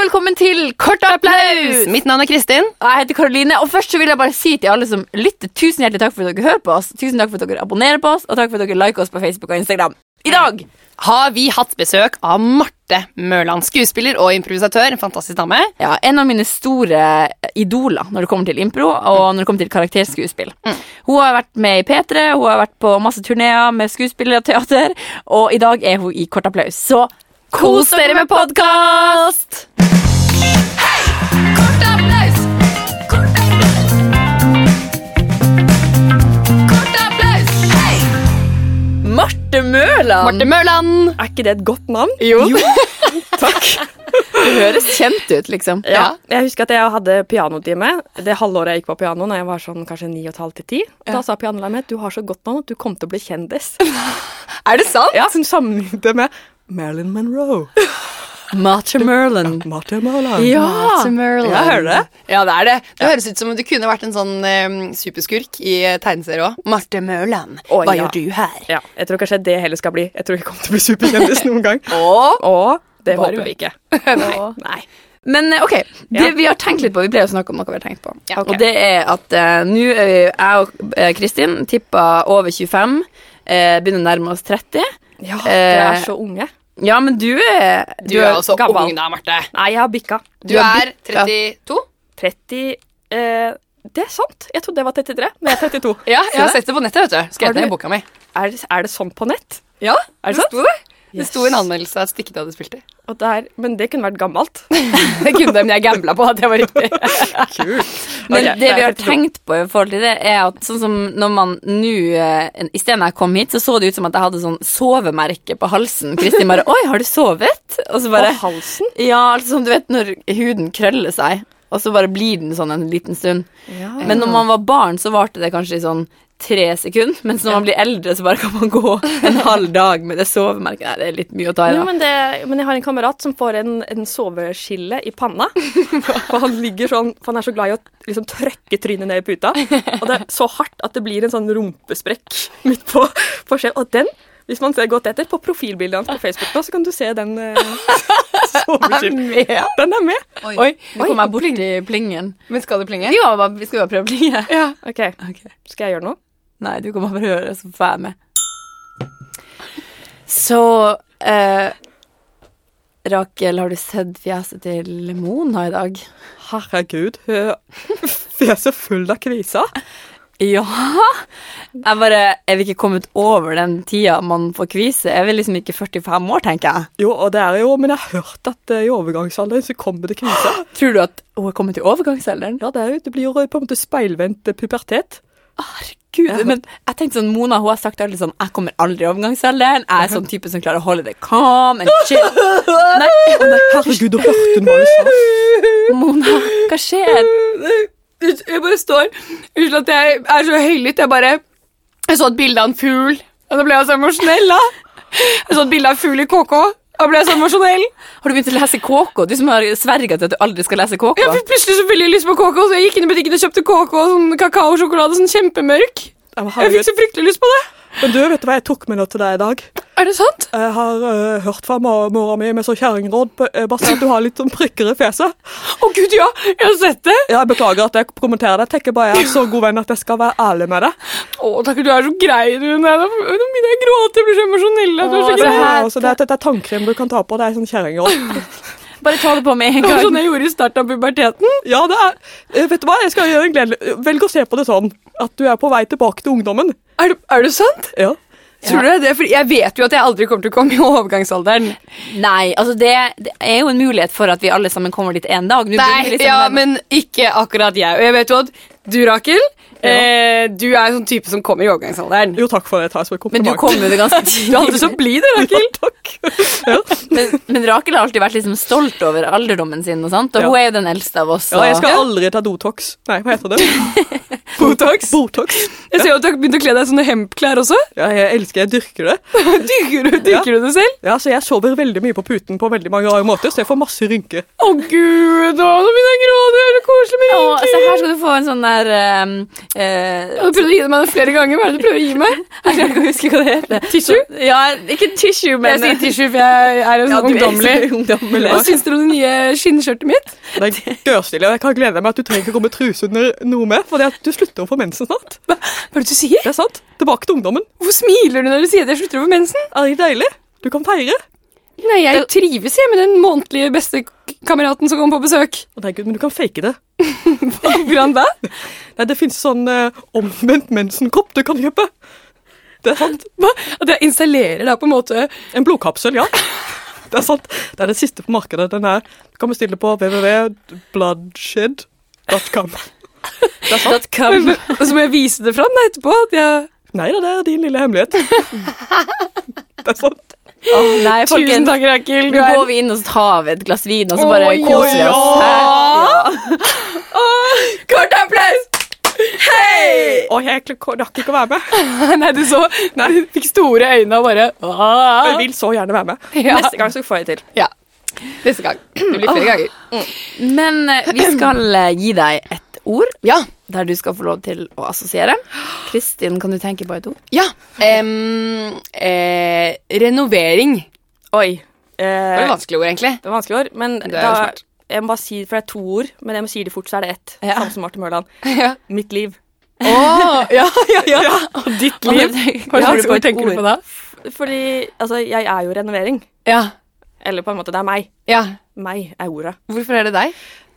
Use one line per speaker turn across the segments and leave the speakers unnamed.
velkommen til Kort applaus!
Mitt navn er Kristin.
Og Jeg heter Karoline, og først så vil jeg bare si til alle som lytter, tusen hjertelig takk for at dere hører på oss. Tusen takk for at dere abonnerer på oss, og takk for at dere liker oss på Facebook og Instagram. I dag!
Har vi hatt besøk av Marte Mørland, skuespiller og improvisatør. En fantastisk dame.
Ja, en av mine store eh, idoler når det kommer til impro og når det kommer til karakterskuespill. Hun har vært med i P3, hun har vært på masse turneer med skuespillere og teater, og i dag er hun i Kort applaus. Så kos dere med podkast! Marte Mørland!
Marte Mørland!
Er ikke det et godt navn?
Jo.
Takk.
Det høres kjent ut, liksom.
Ja. Jeg husker at jeg hadde pianotime det halvåret jeg gikk på piano, når jeg var sånn kanskje ni og et halvt til ti. Da sa pianolæreren min at du har så godt navn at du kom til å bli kjendis.
Er det sant?
Ja, Hun sammenlignet det med Marilyn Monroe.
Marte Mørland.
Martin Mauland.
Ja!
Marte Mørland.
Ja, hører du det?
Ja, det er det. Det høres ut som om du kunne vært en sånn eh, superskurk i eh, tegneserie òg. Marte Mørland,
Å,
hva
ja.
gjør du her?
Ja, Jeg tror kanskje det heller skal bli. Jeg tror jeg kommer til å bli superkjendis noen gang.
Og
Og det
Bare
håper vi ikke.
Nei. Men eh, ok, det vi har tenkt litt på Vi pleier å snakke om noe vi har tenkt på
Ja.
Og det er at eh, nå er jeg og eh, Kristin Tipper over 25 eh, Begynner å nærme oss 30
Ja, Dere er så unge.
Ja, men du er
du er også
gammel.
ung da, Marte.
Nei, jeg har bikka.
Du er 32?
30 eh, Det er sant. Jeg trodde jeg var 33, men jeg er 32.
Ja, jeg har sett det på nettet, vet du.
Har
Skrevet
du-
ned i boka mi.
Er, det- er det sånn på nett?
Ja,
Er det
det
sant?
sto det. Det
Yes.
sto i en anmeldelse at Stikket hadde spilt det.
Og det er- men det kunne vært gammelt.
Det kunne de, men jeg gambla på at det var riktig.
Men
Ok,
det
jeg
vi har
tenkte på-
tenkt på i forhold til det Er at sånn som når man nå eh, I stedet jeg kom hit så så det ut som at jeg hadde sånn Sovemerke på halsen Kristin bare, oi, har du sovet? Og så bare,
På halsen?
ja, altså som du vet når huden krøller seg Og så bare blir den sånn en liten stund Men når man var barn, så varte det kanskje i sånn tre sekunder. Mens når man blir eldre, så bare kan man gå en halv dag med det sovemerket. Nei, det er litt mye å ta i,
Jo,
da.
men, det, men jeg har en kamerat som får en, en soveskille i panna. For han ligger sånn, for han er så glad i å liksom trøkke trynet ned i puta. Og det er så hardt at det blir en sånn rumpesprekk midt på, på skjell. Og den, hvis man ser godt etter, på profilbildet hans på Facebook nå, så kan du se den eh, soveskillen.
Med.
Den er med.
Oi.
Oi, nå kom jeg borti plingen.
Men skal det plinge?
Ja, hva- vi skal bare prøve plinge.
Ja.
OK, skal jeg gjøre noe?
Nei, du kan bare høre, så får jeg med. Så eh, Rakel, har du sett fjeset til Mona i dag?
Herregud, fjeset full av kviser.
Ja. Jeg bare Er vi ikke kommet over den tida man får kvise? Er vi liksom ikke 45 år, tenker jeg.
Jo, og det er jo, men jeg har hørt at eh, i overgangsalderen så kommer det kviser.
Tror du at hun er kommet til overgangsalderen?
Ja, det, er jo, det blir jo på en måte speilvendt eh, pubertet.
Gud, men jeg tenkte sånn, Mona hun har sagt alltid sånn Jeg kommer aldri i overgangsalderen. Jeg er sånn type som klarer å holde det calm and chill. Nei, nei,
Herregud, du hørte hun hva hun sa.
Mona, hva skjer?
Jeg bare står Unnskyld at jeg er så høylytt. Jeg bare Jeg så et bilde av en fugl, og da ble jeg så emosjonell, da. Jeg så et bilde av en fugl i KK, og da ble jeg så emosjonell.
Har du begynt å lese KK? Du som har sverget til at du aldri skal lese KK.
Jeg fikk plutselig så veldig lyst på KK, så jeg gikk inn i butikken og kjøpte KK og sånn kakaosjokolade, sånn kjempemørk.
Ja, men
Jeg fikk
herregud.
så fryktelig lyst på det.
Men du, vet du hva jeg tok med nå til deg i dag?
Er det sant?
Jeg har eh, hørt fra ma- mora mi med sånn kjerringråd på- eh, bare si at du har litt sånn prikker i fjeset.
Å gud, ja! Jeg har sett det.
Ja, jeg beklager at jeg kommenterer det. Jeg tenker bare jeg er så god venn at jeg skal være ærlig med deg.
Å, takk, du er så grei, du. Nei, da- Nå begynner jeg å gråte. Jeg blir så emosjonell. Du er så
Å,
Ja,
det
grei.
her-
altså, det, er- dette er tannkrem du kan ta på. Det er sånn kjerringråd.
Bare ta det på med en
Det var
gang.
sånn jeg gjorde i starten av puberteten.
Ja, det er eh, Vet du hva, jeg skal gjøre en gledelig Velg å se på det sånn at du er på vei tilbake til ungdommen.
Er det, er det sant?
Ja.
Tror du det? det? er fordi jeg vet jo at jeg aldri kommer til å komme i overgangsalderen.
Nei, altså det, det er jo en mulighet for at vi alle sammen kommer dit en dag. Nå blir vi
Nei,
liksom
ja,
den-
men ikke akkurat jeg. Og jeg vet jo at du, Rakel, eh, du er en sånn type som kommer i overgangsalderen.
Jo, takk for det. Jeg tar det som et
men du
kompliment.
kom jo det ganske tidlig.
Du er alltid så blid, du, Rakel.
Men, men Rakel har alltid vært liksom stolt over alderdommen sin, og, sant? og
Ja.
hun er jo den eldste av oss.
Ja, jeg
og-
skal aldri ta Dotox. Nei, hva heter det?
Botox.
Botox.
Jeg ser jo at du har begynt å kle deg i sånne hempklær også.
Ja, jeg elsker Jeg dyrker det.
Dyrker du, dyrker du det selv?
Ja, så Jeg sover veldig mye på puten på veldig mange rare måter, så jeg får masse rynker.
Å gud, å, nå begynner jeg å gråte. Det er så koselig med
Og se
rynker.
her skal du få en sånn der um, eh,
Jeg har prøvd å gi deg meg det flere ganger. Hva er det du prøver å gi meg?
Jeg klarer ikke å huske hva det heter.
Tissue?
Ja, ikke tissue, men
jeg sier tissue, for jeg er jo
Ja,
sånn
du er
ungdommelig.
Ungdommelig.
Hva syns dere om det nye skinnskjørtet mitt?
Det er gørrstilig, og jeg kan glede meg at du trenger ikke gå med truse under noe med, for du slutter å få mensen snart.
Hva er det du sier?
Det er sant. Tilbake til ungdommen.
Hvorfor smiler du når du sier at jeg slutter over mensen?
Er det deilig? Du kan feire.
Nei, jeg trives jeg med den månedlige bestekameraten som kommer på besøk.
Å, Nei, Gud, men du kan fake det.
Hvordan da?
Nei, Det fins sånn eh, omvendt mensenkopp du kan kjøpe. Det er sant.
Hva? At jeg installerer da på en måte
En blodkapsel, ja. Det er sant. Det er det siste på markedet. Den er. Du kan bestille på www.bloodshed.com. Det er sant.
.com.
Og så må jeg vise det fram da etterpå. At jeg...
Nei da, det er din lille hemmelighet. Det er sant.
nei,
Tusen
folkens.
takk, Rakel. Du
Nå går
er...
vi inn og så tar vi et glass vin, og så
Å,
bare
ja.
koser vi oss. Hæ?
Kort applaus!
Å, jeg rakk ikke å være med.
Nei, du så Nei, du fikk store øyne og bare
Jeg
ah.
vil så gjerne være med.
Ja.
Neste gang så får jeg til.
Ja. Neste gang. Det blir flere ganger.
Ja. Men eh, vi skal eh, gi deg et ord
Ja.
der du skal få lov til å assosiere. Kristin, kan du tenke på et ord?
Ja. Em, eh, renovering.
Oi.
Det var
Eh,
et vanskelig ord, egentlig.
Det var vanskelige år, men
er jo
da,
smart.
jeg må bare si, for det er to ord, men jeg må si det fort, så er det ett.
Ja.
Samme som Martin Mørland.
Ja.
Mitt liv.
Å, ja, ja, ja.
Ditt
Hva
liv. Hva
har
slags
du på
ord
et
tenker du
ord?
på da?
Fordi altså, jeg er jo renovering.
Ja.
Eller på en måte, det er meg.
ja.
Meg er ordet.
Hvorfor er det deg?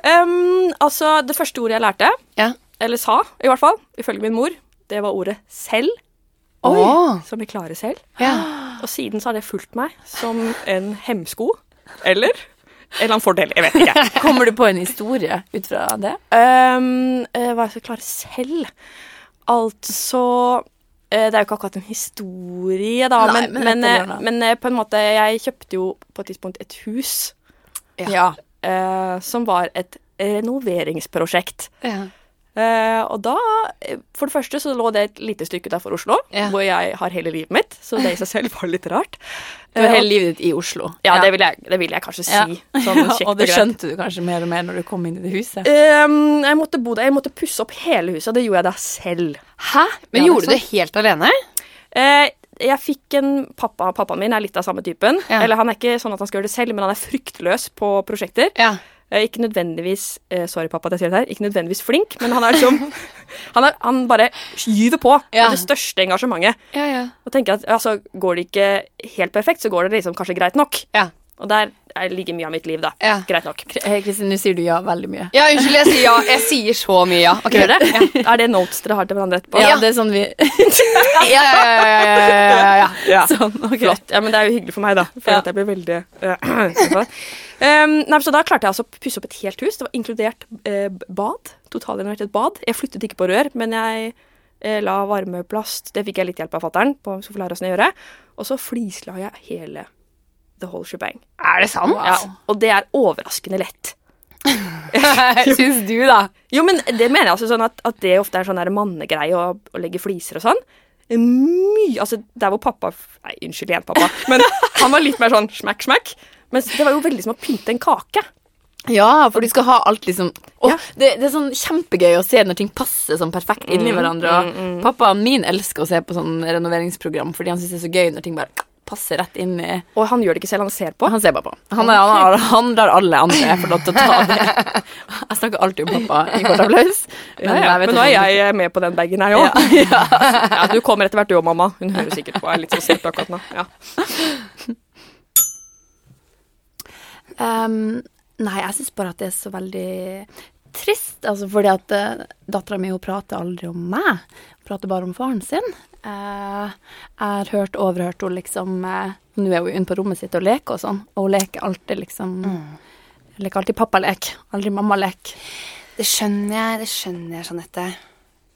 Ehm, altså, det første ordet jeg lærte,
Ja.
eller sa i hvert fall, ifølge min mor, det var ordet selv.
Å.
Som jeg klarer selv.
Ja.
Og siden så har det fulgt meg som en hemsko. Eller en eller annen fordel. Jeg vet ikke.
Kommer du på en historie ut fra det?
Ehm, eh, hva jeg skal klare selv? Altså eh, Det er jo ikke akkurat en historie, da,
Nei,
men,
men
men,
et eller
eh,
annet.
men eh, på en måte Jeg kjøpte jo på et tidspunkt et hus
Ja.
eh, som var et renoveringsprosjekt.
Ja.
Eh, og da, eh, for det første så lå det et lite stykke derfor Oslo,
Ja.
hvor jeg har hele livet mitt, så det i seg selv var litt rart.
Du har
Eh,
hele livet ditt i Oslo.
ja, Det, vil jeg, det vil jeg kanskje si.
Ja.
Sånn kjekt
og det
greit.
skjønte du kanskje mer og mer når du kom inn i det huset.
Ehm, jeg måtte bo der, jeg måtte pusse opp hele huset, og det gjorde jeg da selv.
Hæ? Men
Ja,
gjorde du
det er
det helt alene?
Eh, jeg fikk en pappa, pappaen min er litt av samme typen.
Ja.
Eller han er ikke sånn at han skal gjøre det selv, men han er fryktløs på prosjekter.
Ja.
Eh, ikke nødvendigvis eh, sorry pappa at jeg sier det her, ikke nødvendigvis flink, men han er liksom han, er, han bare skyver på
Ja.
med det største engasjementet.
Ja, ja.
Og tenker at altså, går det ikke helt perfekt, så går det liksom kanskje greit nok.
Ja,
Og der er- ligger mye av mitt liv, da.
Ja.
Greit nok.
Hei, Kristin, nå sier du ja veldig mye.
ja unnskyld, jeg sier ja. Jeg sier så mye ja. Ok,
Gjør det? Er det notes dere har til hverandre etterpå?
Ja, det er sånn vi
Ja, ja, ja, ja, ja, ja, ja, ja.
Ja.
Sånn, ok.
Flott. Ja, men det er jo hyggelig for meg, da. For
Ja.
at jeg blir veldig um, nei, men Så da klarte jeg altså å pusse opp et helt hus. Det var inkludert eh, bad. Totalrenovert et bad. Jeg flyttet ikke på rør, men jeg eh, la varmeplast Det fikk jeg litt hjelp av fatter'n på så får lære oss å gjøre. Og så flisla jeg hele the whole shebang.
Er det sant?
Ja, og det er overraskende lett.
Syns du, da.
Jo, men det mener jeg altså sånn at, at det ofte er sånn der mannegreie å, å legge fliser og sånn. Mye Altså, der hvor pappa f- Nei, unnskyld igjen, pappa. Men han var litt mer sånn smekk, smekk. Mens det var jo veldig som å pynte en kake.
Ja, for du skal ha alt liksom Å,
Ja.
det, det er sånn kjempegøy å se når ting passer sånn perfekt
Mm,
inni hverandre. Og Pappaen min elsker å se på sånn renoveringsprogram fordi han syns det er så gøy når ting bare passer rett inn i
Og han gjør det ikke selv, han ser på.
Han ser bare på. Han, er, han, har- han lar alle andre få lov til å ta det. Jeg snakker alltid om pappa i kort applaus.
Ja, ja.
vet
Men
at
nå er
han-
jeg eh, med på den bagen, jeg òg. Ja. du kommer etter hvert, du òg, mamma. Hun hører sikkert på. Jeg er litt sånn sint akkurat nå. Ja.
Ehm, nei, jeg syns bare at det er så veldig trist. Altså fordi at uh, dattera mi prater aldri om meg. Hun prater bare om faren sin. Eh, jeg har hørt overhørt henne liksom eh, Nå er hun inne på rommet sitt og leker og sånn, og hun leker alltid liksom Leker alltid pappalek, aldri mammalek.
Det skjønner jeg, det skjønner jeg, Jeanette.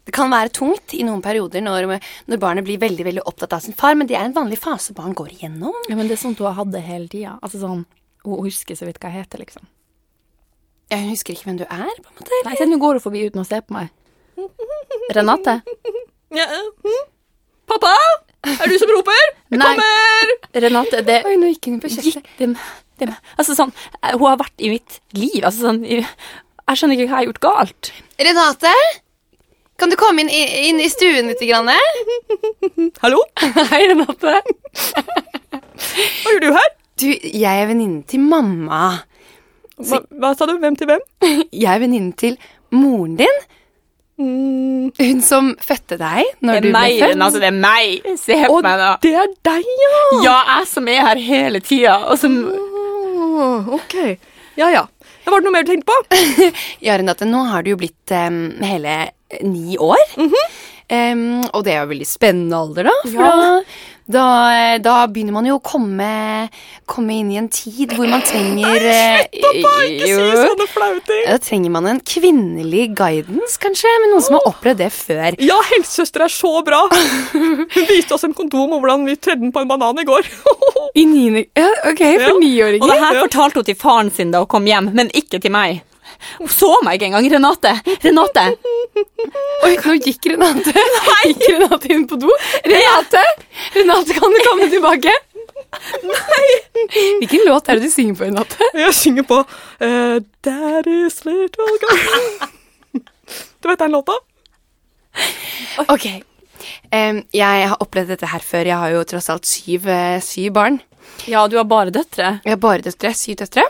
Det kan være tungt i noen perioder når, når barnet blir veldig veldig opptatt av sin far, men det er en vanlig fase barn går igjennom.
Ja, men det er sånt hun har hatt det hele tida. Altså sånn Hun husker så vidt hva jeg heter, liksom.
Jeg husker ikke hvem du er, på en måte.
Nei, se, nå går hun forbi uten å se på meg. Renate?
Ja, hm? Pappa! Er du som roper? Jeg
Nei.
kommer!
Renate, det
Oi, nå gikk hun på
gikk dem, dem. Altså sånn, eh, Hun har vært i mitt liv. Altså sånn, i- jeg skjønner ikke hva jeg har gjort galt.
Renate? Kan du komme inn, i- inn i stuen litt? Grann? eh?
Hallo?
Hei, Renate.
Hva gjør du her?
Du, jeg er venninnen til mamma.
Hva, hva sa du? Hvem til hvem?
Jeg er venninnen til moren din.
Mm.
Hun som fødte deg når du ble født.
Renate, altså, det er meg. Se på meg nå.
det er deg, ja!
Ja, jeg som er her hele tida, og som
Åh, ok. Ja, ja. Ja, Var det noe mer du tenkte på?
Ja, Renate, nå har du jo blitt em, hele ni år.
Mhm.
Em, og det er jo veldig spennende alder, da. For da, da, da begynner man jo å komme, komme inn i en tid hvor man trenger eh, jo,
sånn.
sånne flauting.
Da trenger man en kvinnelig guidance, kanskje, med noen som har opplevd det før.
Ja, helsesøster er så bra! Hun viste oss en kondom og hvordan vi tredde den på en banan i går.
I niende Ja, OK,
for niåringer.
Og det her
Ja.
fortalte hun til faren sin da hun kom hjem, men ikke til meg. Hun så meg ikke engang. Renate! Renate!
Oi, nå gikk Renate, gikk Renate inn på do. Renate, Renate, kan du komme tilbake? Nei! Hvilken låt er det du synger på, Renate?
Jeg synger på uh, That is little girl. Du vet den låta?
Ok. Em, jeg har opplevd dette her før. Jeg har jo tross alt syv, eh, syv barn.
Ja, du har bare døtre,
Jeg har bare døtre. Syv døtre.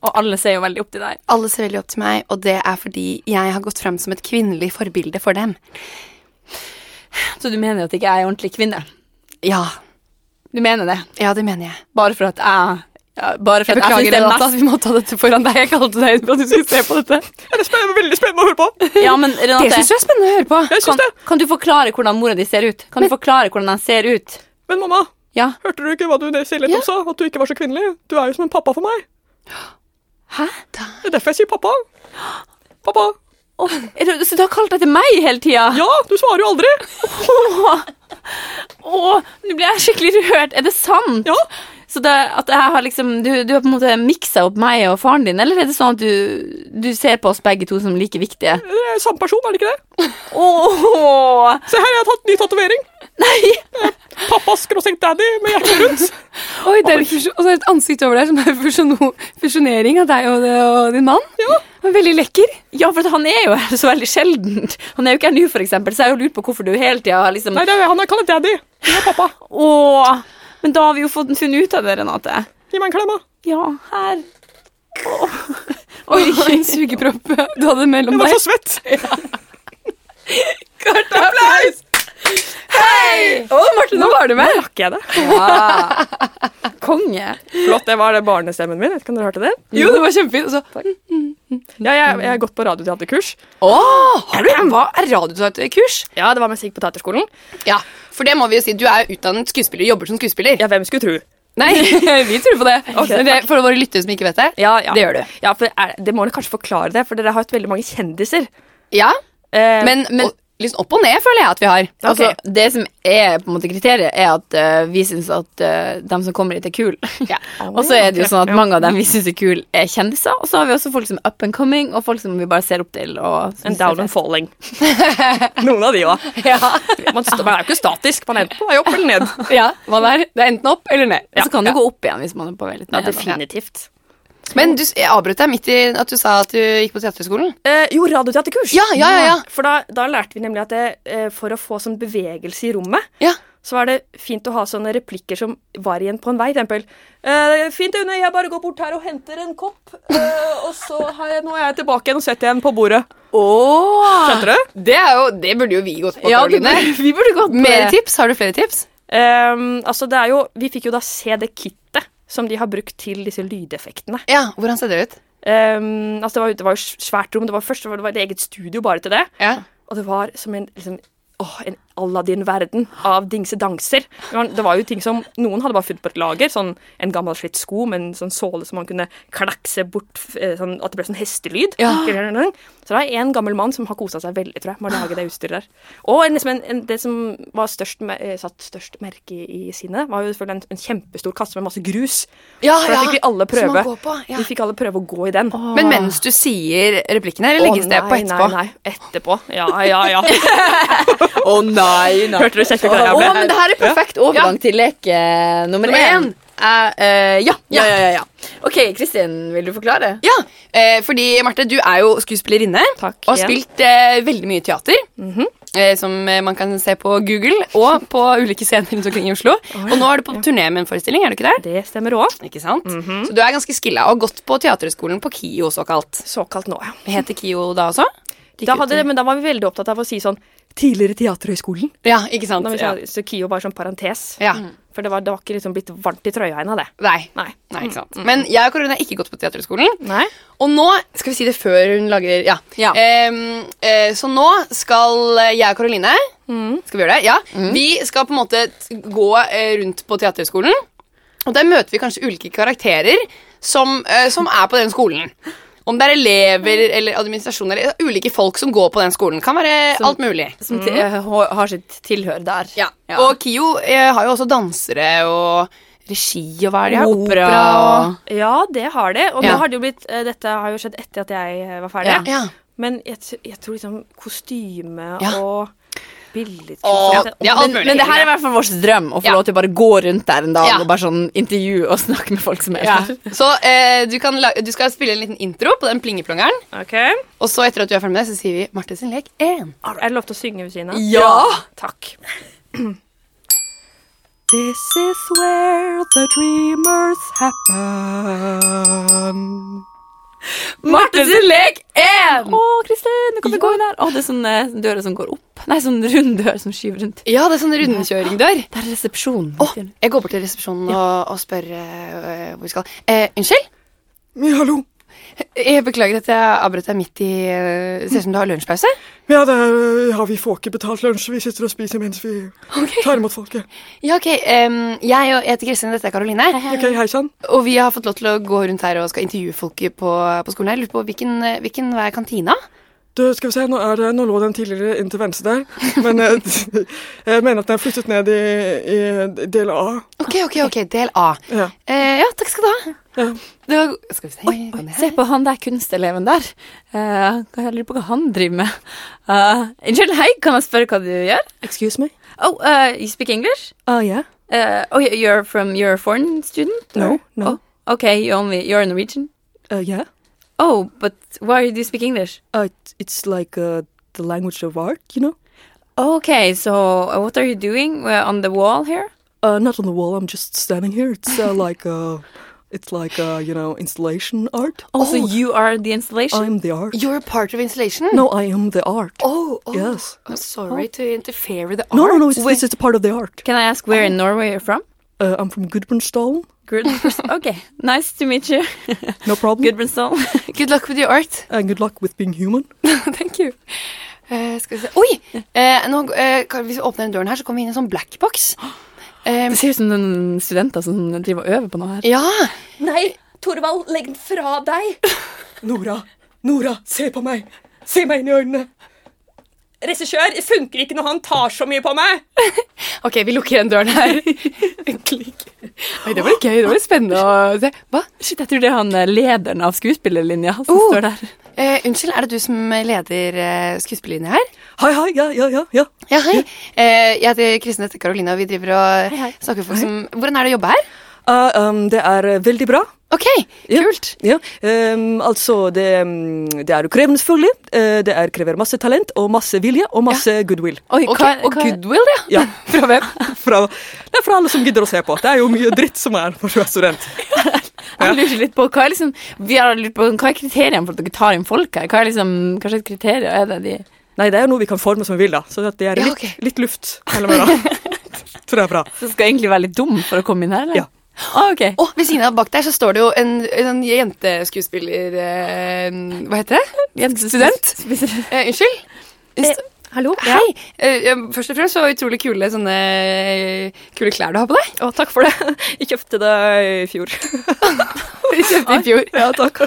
og alle ser jo veldig opp til deg.
Alle ser veldig opp til meg, og det er fordi jeg har gått fram som et kvinnelig forbilde for dem.
Så du mener at ikke jeg er en ordentlig kvinne?
Ja,
Du mener det?
ja det mener jeg.
Bare for at jeg ja, bare for
Jeg
at jeg synes
beklager,
det er
Renata,
mest-
at vi må ta dette foran deg. Jeg kalte deg inn for at du skulle se på dette.
Ja, Det er spen- veldig spennende å høre på.
Ja, men
Det
Renate,
syns jeg er spennende å høre på.
Jeg
kan,
synes det.
kan du forklare hvordan mora di ser ut? Kan du forklare hvordan den ser ut?
Men mamma,
Ja.
hørte du ikke hva du selv nettopp sa? At du ikke var så kvinnelig? Du er jo som en pappa for meg.
Hæ?
Det er derfor jeg sier pappa. Pappa.
Åh, er det- så du har kalt deg til meg hele tida?
Ja, du svarer jo aldri.
Åh, Åh, nå blir jeg skikkelig rørt. Er det sant?
Ja.
Så det, at jeg har liksom, du, du har på en måte miksa opp meg og faren din, eller er det sånn at du, du ser på oss begge to som like viktige?
Det er samme person, er det ikke det?
Åh,
Se her, jeg har tatt ny tatovering.
nei!
Pappas skråsenk daddy med hjertet rundt.
Oi, det er en fusjon- Og så er det et ansikt over der som er fusjono- fusjonering av deg og, og din mann. Ja. Veldig lekker.
Ja, for at han er jo her så veldig sjeldent. Han er jo ikke her nå, for eksempel, så jeg har jo lurt på hvorfor du hele tida har liksom
Nei, det er, han er kallet daddy. Hun er pappa.
Åh, men da har vi jo fått funnet ut av det, Renate.
Gi meg en klem, da.
Ja, her. Åh. Oi,
En sugepropp du hadde mellom
Jeg var
deg.
så svett.
Martin, nå var du med!
Rakk jeg det?
Ja. Konge.
Flott, det var det barnestemmen min. Vet ikke om dere hørte det?
Jo, det var kjempefint. Og så
Ja, jeg, jeg har gått på radioteaterkurs.
Åh, har du hva er radioteaterkurs?
Ja, det var musikk på teaterskolen.
Ja, for det må vi jo si. Du er jo utdannet skuespiller, jobber som skuespiller.
Ja, hvem skulle tro?
Nei, vi tror på det. det for våre lyttere som ikke vet det.
Ja, ja.
Det gjør du.
Ja, for er, det må dere kanskje forklare det, for dere har hatt veldig mange kjendiser.
Ja,
Eh,
men, men liksom opp og ned føler jeg at vi har.
Altså,
Ok.
Det som er på en måte kriteriet, er at eh, vi syns at eh, de som kommer hit, er kule. og så er det jo sånn at mange av dem vi syns er kule, er kjendiser. Og så har vi også folk som er up and coming, og folk som vi bare ser opp til. Og
en
synes det er
down and falling. Noen av de òg. Man, st- man er jo ikke statisk. Man er enten på vei opp eller ned.
Ja, hva det er? Det er enten opp eller ned.
fett. Og så kan det gå opp igjen hvis man er på vei litt ned. da.
definitivt.
Men du, jeg avbrøt deg midt i at du sa at du gikk på teaterskolen.
Eh, jo, radioteaterkurs.
Ja, ja, ja, ja.
For da, da lærte vi nemlig at det, eh, for å få sånn bevegelse i rommet,
Ja.
så var det fint å ha sånne replikker som var igjen på en vei. for Eksempel. Eh, fint, Une, jeg bare går bort her og henter en kopp, eh, og så har jeg, nå er jeg tilbake igjen og setter igjen på bordet.
Åh!
Skjønte du?
Det, er jo, det burde jo vi gått på,
Ja, du,
Karoline.
vi burde gått
Mer tips? Har du flere tips?
Eh, altså, det er jo, vi fikk jo da se det kittet som de har brukt til disse lydeffektene.
Ja, Hvordan ser det ut?
Eh, altså, det var, jo- det var jo svært rom. Det var først det var det et eget studio bare til det.
Ja.
Og det var som en, liksom, åh, en Aladdin-verden av dingsedanser. Det var- Det var jo ting som noen hadde bare funnet på et lager. Sånn en gammel slitt sko med en sånn såle som man kunne klakse bort, eh, sånn at det ble sånn hestelyd. Så det er en gammel mann som har kosa seg veldig, tror jeg, med å lage det utstyret der. Og en, liksom en, en, det som var størst, me- eh, satt størst merke i, i sinnet, var jo selvfølgelig en, en kjempestor kasse med masse grus.
Ja,
For da fikk vi alle
Som
prøve.
man går på, ja.
Vi fikk alle prøve å gå i den.
Men mens du sier replikkene, eller
Å,
legges det på
nei,
etterpå?
Nei, nei, etterpå. Ja, ja, ja.
Å nei, nei.
Hørte du kjekka
Å,
der jeg ble?
men det her er perfekt overgang til leke eh, nummer én. Eh, eh, ja, ja, ja, ja, ja. Ok, Kristin, vil du forklare?
Ja, eh, fordi Marte, du er jo skuespillerinne
Takk
og har
igjen.
spilt eh, veldig mye teater. eh, som eh, man kan se på Google og på ulike scener rundt omkring i Oslo. Og nå er du på turné med en forestilling, er du ikke det?
Det stemmer òg.
Ikke sant? Så du er ganske skilla og har gått på teaterhøgskolen på KIO såkalt.
Såkalt nå, ja.
Heter KIO da også?
Da hadde, men da var vi veldig opptatt av å si sånn Tidligere Teaterhøgskolen.
Ja, ikke sant?
Da vi
Ja.
sa, så Kio var sånn parentes.
Ja.
For det var, det var ikke liksom blitt varmt i trøya ennå, det.
Nei. Mm,
Nei.
Nei, ikke sant. Men jeg og Karoline har ikke gått på teaterhøgskolen.
Nei.
Og nå skal vi si det før hun lager Ja.
Ja.
Ehm, eh, så nå skal jeg og Karoline Skal vi gjøre det? Ja. Vi skal på en måte t- gå eh, rundt på Teaterhøgskolen, og der møter vi kanskje ulike karakterer som, eh, som er på den skolen. Om det er elever eller administrasjon eller ulike folk som går på den skolen. Kan være alt mulig.
Som til, eh, har har sitt tilhør der.
Ja. Og KIO eh, har jo også dansere og regi og hva er det? de har?
opera.
og-
Ja, det har det. Og
Ja.
nå har det jo blitt eh, Dette har jo skjedd etter at jeg eh, var ferdig.
Ja.
Ja.
Men jeg, t- jeg tror liksom kostyme
Ja.
og billedkunst
Ja.
det-
Ja, alt
Men,
mulig.
men det her er i hvert fall vår drøm, å få
Ja.
lov til å bare gå rundt der en dag
Ja.
og bare sånn intervjue og snakke med folk som er sånn, der.
Så eh, du, kan la du skal spille en liten intro på den plingeplongeren.
Ok.
Og så etter at du er ferdig med det, så sier vi Marte sin lek 1.
Er det lov til å synge ved siden av?
Ja!
Takk.
This is where the dreamers happen.
Marte sin lek én!
én!
Å, Kristin, du kan ja. gå inn der. Å, det er sånn eh, dører som går opp. Nei, sånn rund dør som skyver rundt.
Ja, det er sånn rundkjøringdør.
Der er resepsjonen.
Å, jeg går bort til resepsjonen og, og spør eh, hvor vi skal. Eh, unnskyld?
Ja, hallo.
Jeg beklager at jeg avbrøt deg midt i eh, Ser ut som du har lunsjpause.
Ja, det er, ja, vi får ikke betalt lunsj. Vi sitter og spiser mens vi tar imot folket.
Ja, ok. em, jeg og- jeg heter Kristin, dette er Karoline.
Ok, hei sann.
Og vi har fått lov til å gå rundt her og skal intervjue folket på, på skolen. her. Jeg lurer på hvilken, eh, hvilken vei er kantina?
Du, skal vi se, nå, er det, nå lå den tidligere inn til venstre der, men eh, jeg mener at den er flyttet ned i, i del A.
Ok, ok, ok. Del A.
Ja.
Eh, ja, takk skal du ha.
Ja.
Det var Skal vi se
Oi,
kan
oi,
det her?
se på han der kunsteleven der. Eh, jeg lurer på hva han driver med. Eh, Unnskyld, hei, kan jeg spørre hva du gjør?
Excuse me?
Oh, eh, you speak English?
Oh, yeah.
Eh, oh, you're from, you're a foreign student? or-
No, no.
Oh, okay, you only, you're Norwegian?
Uh, yeah.
Oh, but why do you speak English?
Uh, it- it's like uh, the language of art, you know?
Okay, so uh, what are you doing uh, on the wall here?
Uh, not on the wall, I'm just standing here. It's uh, like, uh, it's like uh, you know, installation art.
Oh,
Also, you are the installation.
Oh, I'm the art.
You're part of installation.
No, I am the art.
Oh, oh.
Yes. Oh.
I'm sorry to interfere with the
No,
art.
no, no, it's, this is part of the art.
Can I ask where in Norway you're from?
Uh, I'm from Gudbrandsdalen.
Good. okay, nice to meet you.
No problem.
Good, Brinsdal.
Good luck with your art.
And good luck with being human.
Thank you. Eh, skal vi se Oi! Eh, nå, eh, kan- hvis vi åpner den døren her, så kommer vi inn i en sånn black box. Eh,
Det ser ut som noen studenter som driver og øver på noe her.
ja.
Nei, Torvald, legg den fra deg!
Nora, Nora, se på meg! Se meg inn i øynene!
Regissør, det funker ikke når han tar så mye på meg!
Ok, vi lukker den døren her. Klikk. Oi, det var litt gøy. Det var litt spennende å se. Hva?
Shit, jeg tror det er han eh, lederen av skuespillerlinja som
Oh.
står der.
Eh, unnskyld, er det du som leder eh, skuespillerlinja her?
Hei, hei, ja, ja, ja. ja.
Ja, hei. Eh, jeg heter Kristin Hette Karoline, og vi driver og snakker med folk som Hvordan er det å jobbe her?
Eh, um, det er eh, veldig bra.
Ok,
Ja.
kult.
Ja. Um, altså, det, um, det er krevende, selvfølgelig. Eh, det er, krever masse talent og masse vilje og masse goodwill.
Oi,
Ok,
hva-
og
hva-
goodwill, ja.
Ja.
Fra hvem?
Fra, det er fra alle som gidder å se på. Det er jo mye dritt som er når du er student.
Jeg lurer litt på, hva er, liksom, vi har lurt på hva er kriteriene for at dere tar inn folk her? Hva er liksom, hva slags kriterier er det de
Nei, det er jo noe vi kan forme som vi vil, da. Så at det er
Ja,
litt,
ok.
litt luft mellom øra. Tror jeg er bra.
som skal egentlig være litt dum for å komme inn her? Eller?
Ja.
Ah, ok.
Og ved siden av bak der så står det jo en, en jenteskuespiller eh, Hva heter det?
Jentestudent?
Eh, unnskyld?
Hallo.
Hei! Eh, eh, Først og fremst så utrolig kule sånne eh, kule klær du har på deg.
Å, takk for det. Jeg kjøpte det i fjor.
Vi kjøpte i fjor.
Ja, takk.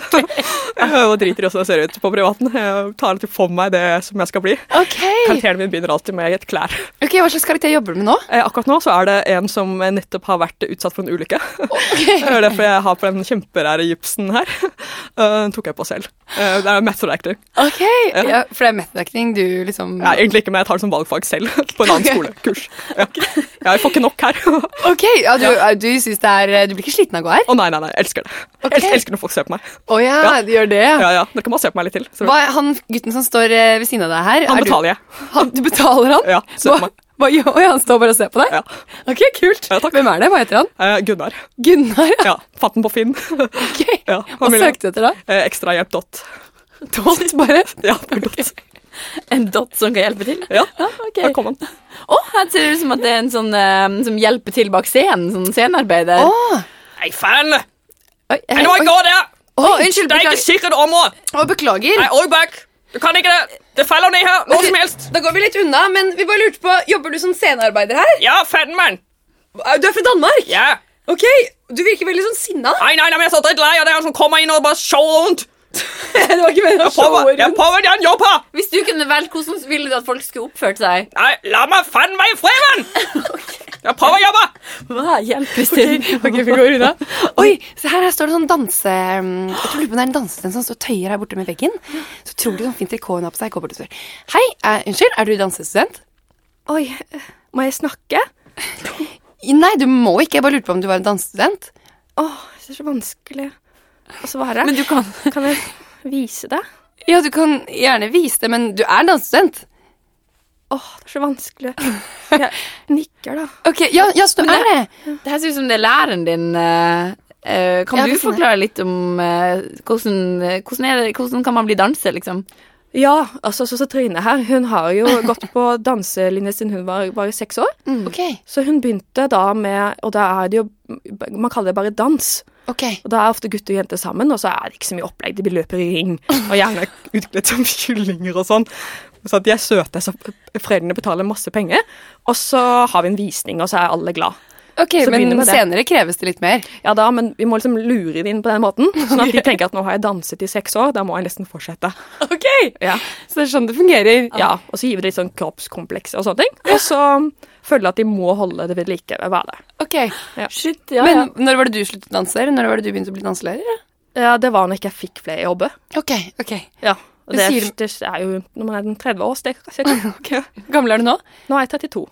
Jeg driter i hvordan jeg ser ut på privaten. Jeg tar alltid for meg det som jeg skal bli.
Ok,
Karakteren min begynner alltid med et klær.
Ok, Hva slags karakter jobber du med nå?
Eh, Akkurat nå så er det en som nettopp har vært utsatt for en ulykke. Det er derfor jeg har på den kjemperære gipsen her. Eh, Den tok jeg på selv. Eh, Det er method actor.
Ok, ja, For det er metodekning du liksom
Nei, egentlig ikke, men jeg tar det som valgfag selv på en annen skolekurs. Ja. Jeg får ikke nok her. Å
Ok, ja, Du, du synes det er Du blir ikke sliten av å gå her?
nei, nei, nei, jeg elsker det. Jeg
Ok.
elsker- elsker når folk ser på meg.
Å ja, du gjør det, ja.
Ja, ja, Dere kan bare se på meg litt til. Så
Hva, han gutten som står eh, ved siden av deg her
han
er du-
betaler jeg.
Han, du betaler han?
Ja, se på
hva,
meg.
hva gjør Oi, han? står bare og ser på deg?
Ja.
Ok, kult.
Ja, takk.
Hvem er det? Hva heter han?
Eh, Gunnar.
Gunnar, ja.
Ja, Fant den på Finn.
Ok.
Ja,
Hva
vil-
søkte du etter da?
Eh, Ekstrahjelp dot.
Dot, bare.
Ja, det er dot.
En dott som kan hjelpe til?
Ja,
Ja, ok.
der kom han.
Å, her ser det ut som at det er en sånn eh, som hjelper til bak scenen. Sånn scenearbeider.
Åh.
Nei, faen!
Oi, hei,
Nå
oi.
går der!
Åh, unnskyld,
Det er ikke
beklager.
sikkert område.
Åh, beklager.
Nei, Aabak, du kan ikke det. Det faller ned her, hvor som helst.
Da går vi litt unna, men vi bare lurte på, sånn jobber du som scenearbeider her?
Ja, faen, mann.
Du er fra Danmark?
Ja.
Ok, du virker veldig sånn sinna.
Nei, nei, nei, men jeg er så drittlei av det her som kommer inn og bare shower rundt.
det var ikke meningen å
Prøver- Jeg prøver den jobb her.
Hvis du kunne velge, hvordan ville du at folk skulle oppført seg?
Nei, la meg faen meg i fred, mann. Jeg prøver å jobbe.
Hva hjelpes til?
vi går unna. Oi, se her, her står det sånn danse... mm, Jeg tror lurer på om det er en dansestund som står og tøyer her borte med veggen. Så utrolig sånn fint trikot hun har på seg. Jeg Går bort og spør. Hei, eh, unnskyld, er du dansestudent?
Oi, må jeg snakke?
Nei, du må ikke. Jeg bare lurte på om du var en dansestudent.
Åh, det er så vanskelig å svare.
Men du kan
Kan jeg vise det?
Ja, du kan gjerne vise det, men du er dansestudent.
Åh, det er så vanskelig. Jeg nikker, da.
Ok, ja, ja så du er det.
Det her ser ut som det er læreren din. eh, eh, kan
Ja,
du
det stemmer.
forklare litt om eh, hvordan, eh, hvordan, er det, hvordan kan man bli danser, liksom?
Ja, altså så, så Trine her, hun har jo gått på danselinje siden hun var bare seks år.
Ok,
Så hun begynte da med, og da er det jo, man kaller det bare dans.
ok.
Og da er ofte gutter og jenter sammen, og så er det ikke så mye opplegg, de løper i ring, og gjerne utkledd som kyllinger og sånn. Så at de er søte, så foreldrene betaler masse penger, og så har vi en visning, og så er alle glad.
Ok,
Så begynner
men
med det.
senere kreves det litt mer.
Ja da, men vi må liksom lure det inn på den måten, sånn at de tenker at nå har jeg danset i seks år, da må jeg nesten fortsette.
Ok,
Ja.
så det er sånn det fungerer.
Ja, og så gir vi det litt sånn kroppskomplekser og sånne ting. Og så føler jeg at de må holde det ved like ved hverdag.
Ok,
Shit, ja,
men når var det du sluttet å danse? eller Når var det du begynte å bli danselærer?
Ja, det var når ikke jeg fikk flere jobber.
Ok, ok.
Ja,
Du
og det,
sier-
det er jo når man er den 30 år, så det er cirka.
Hvor gammel er du nå?
Nå er jeg 32.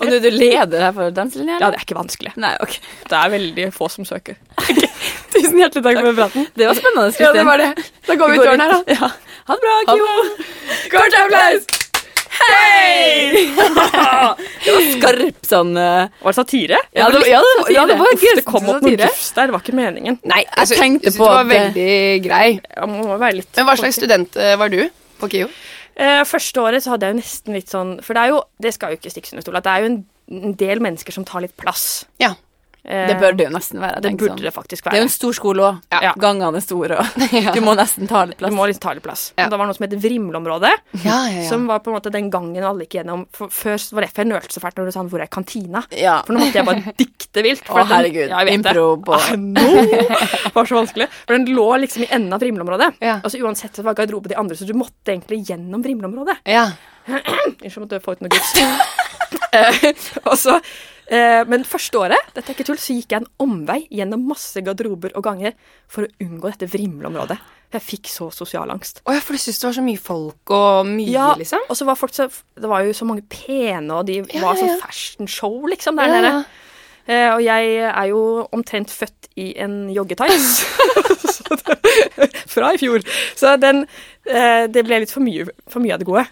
Og du, du leder her for danselinja?
Ja,
eller?
det er ikke vanskelig.
Nei, ok.
Det er veldig få som søker.
Tusen hjertelig takk for praten.
Det var spennende.
Ja, det var det. Da går vi ut døren her, da.
Ja. Ha det bra, Kimo.
Kort applaus!
Skarp sånn eh,
Var det satire?
Ja, det, ja, det, ja, det var
Uff,
gøy.
det kom opp noe gufs der, det var ikke meningen.
Nei, altså, jeg
tenkte
synes
på
du var
at det-
veldig grei.
Jeg må må være litt
Men hva slags student eh, var du på KIO?
Eh, første året så hadde jeg jo nesten litt sånn For det er jo Det skal jo ikke stikkes under stol at det er jo en, en del mennesker som tar litt plass.
Ja.
Eh,
Det bør det jo nesten være.
det
tenk
burde
sånn.
det faktisk
Det er
være.
jo en stor skole òg.
Ja.
Gangene er store, og du må nesten ta litt plass.
Du må liksom ta litt plass.
Ja.
Det var noe som het Vrimleområdet,
Ja, ja,
som var på en måte den gangen alle gikk gjennom. For, før var det derfor jeg nølte så fælt når du sa 'hvor er kantina'?
Ja.
For nå måtte jeg bare dikte vilt. for
Å,
at den-
herregud.
Ja, jeg vet det.
Impro på
Ah, nå var så vanskelig. For den lå liksom i enden av Vrimleområdet.
Ja.
Og så Altså, uansett så var garderobe de andre, så du måtte egentlig gjennom Vrimleområdet.
ja.
Unnskyld måtte jeg få ut noe gufs. Eh, og så, eh, men første året dette er ikke tull, så gikk jeg en omvei gjennom masse garderober og ganger for å unngå dette vrimleområdet. Jeg fikk så sosial angst.
Å ja, for du syns det var så mye folk og mye,
Ja,
liksom?
og så var folk så, Det var jo så mange pene, og de
Ja, ja,
var
ja.
sånn fashion show, liksom, der
Ja,
nede.
ja.
Eh, og jeg er jo omtrent født i en joggetights. Så det- Fra i fjor. Så den, eh, det ble litt for mye, for mye av det gode.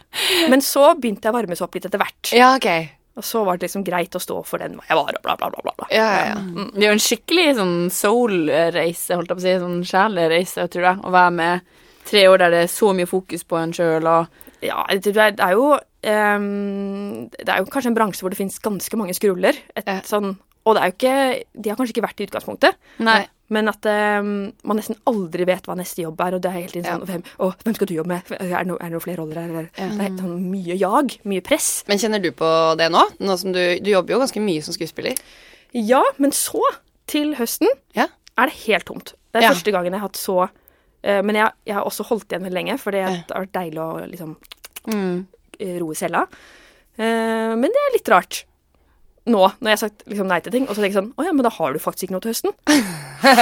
Men så begynte jeg å varmes opp litt etter hvert.
Ja, ok.
Og så var det liksom greit å stå for den jeg var, og bla, bla, bla. bla, bla.
Ja, ja, ja.
Det er jo en skikkelig sånn soul-reise, holdt jeg på å si. Sånn sjelereise, tror jeg. Å være med tre år der det er så mye fokus på en sjøl og
Ja, det er, det er jo ehm, Det er jo kanskje en bransje hvor det finnes ganske mange skruller. Et,
Ja.
sånn, og det er jo ikke De har kanskje ikke vært i utgangspunktet,
Nei.
Men at eh, man nesten aldri vet hva neste jobb er. Og det er helt inn sånn, hvem, å, hvem skal du jobbe med? Er det, no, er det noen flere roller her? Eller?
Mm.
Det er sånn, mye jag, mye press.
Men kjenner du på det nå? nå som du, du jobber jo ganske mye som skuespiller.
Ja, men så, til høsten,
Ja.
er det helt tomt. Det er
Ja.
første gangen jeg har hatt så eh, Men jeg, jeg har også holdt igjen veldig lenge, for det har vært deilig å liksom
Mm.
eh, roe cella. Eh, men det er litt rart. Nå, når jeg har sagt liksom, nei til ting, og så tenker jeg sånn Å ja, men da har du faktisk ikke noe til høsten.
Men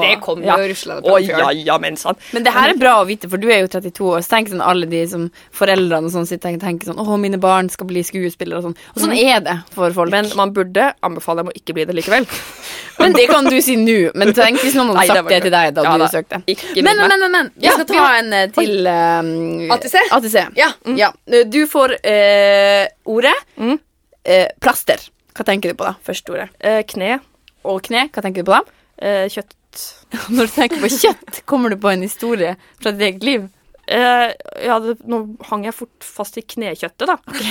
det kom
Ja.
jo ruslende
Å
på
ja, ja, men sant.
Men det her er bra å vite, for du er jo 32 år. Så tenk sånn alle de som foreldrene og sånn sitter og tenker sånn Å, mine barn skal bli skuespillere og sånn. Og sånn er det for folk.
Men man burde anbefale dem å ikke bli det likevel.
Men det kan du si nå. Men tenk hvis noen
Nei,
hadde sagt
det var
det
ikke-
til deg da
Ja
du
da,
søkte.
ikke
Men,
meld
men,
meg.
men, men. Vi
Ja,
skal
vi
ta en eh, til um,
ATC?
ATC.
Ja.
ja. Mm. Du får eh, ordet eh, plaster. Hva tenker du på da? Første ordet.
Eh, kne,
Og kne. Hva tenker du på da?
eh, kjøtt
Når du tenker på kjøtt, kommer du på en historie fra ditt eget liv.
Eh, ja, det, nå hang jeg fort fast i knekjøttet, da.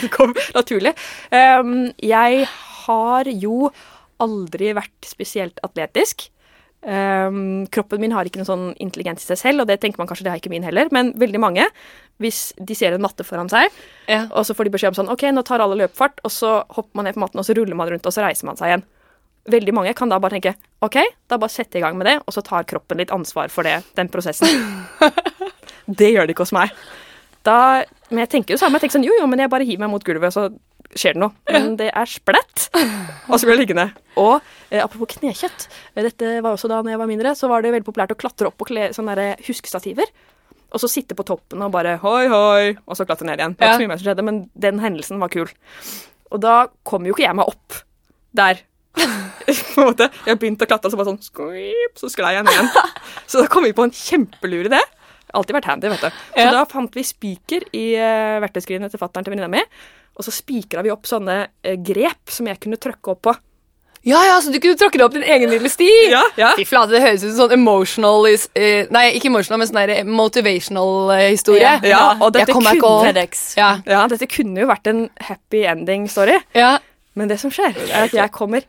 det kom naturlig. Ehm, jeg har jo aldri vært spesielt atletisk. Ehm, kroppen min har ikke noen sånn intelligens i seg selv, og det tenker man kanskje det har ikke min heller, men veldig mange, hvis de ser en matte foran seg,
Ja.
og så får de beskjed om sånn OK, nå tar alle løpefart, og så hopper man ned på matten, og så ruller man rundt, og så reiser man seg igjen. Veldig mange kan da bare tenke OK, da bare setter jeg i gang med det, og så tar kroppen litt ansvar for det, den prosessen. Det gjør det ikke hos meg. Da, men jeg tenker jo samme. Jeg tenker sånn, jo, jo, men jeg bare hiver meg mot gulvet, så skjer det noe. Men det er splett, og så blir jeg liggende. Og eh, apropos knekjøtt. eh, Dette var også da når jeg var mindre, så var det veldig populært å klatre opp på kle, sånne der huskestativer. Og så sitte på toppen og bare hoi, hoi, og så klatre ned igjen. Det var ikke så mye mer som skjedde, men den hendelsen var kul. Og da kom jo ikke jeg meg opp der. på en måte. Jeg begynte å klatre, og så bare sånn skrip, så sklei jeg ned igjen. Så da kom vi på en kjempelur idé. Alltid vært handy, vet du. Så da fant vi spiker i uh, verktøyskrinet til fattern til venninna mi. Og så spikra vi opp sånne eh, grep som jeg kunne trykke opp på.
ja, ja, så du kunne tråkke deg opp din egen lille sti.
ja.
Fy flate, det høres ut som sånn emotional is- eh, Nei, ikke emotional, men sånn der motivational eh, historie.
Ja, ja, og dette
Jeg kommer meg ikke
kunne-
opp. Ja,
ja, dette kunne jo vært en happy ending-story.
ja.
Men det som skjer, er at jeg kommer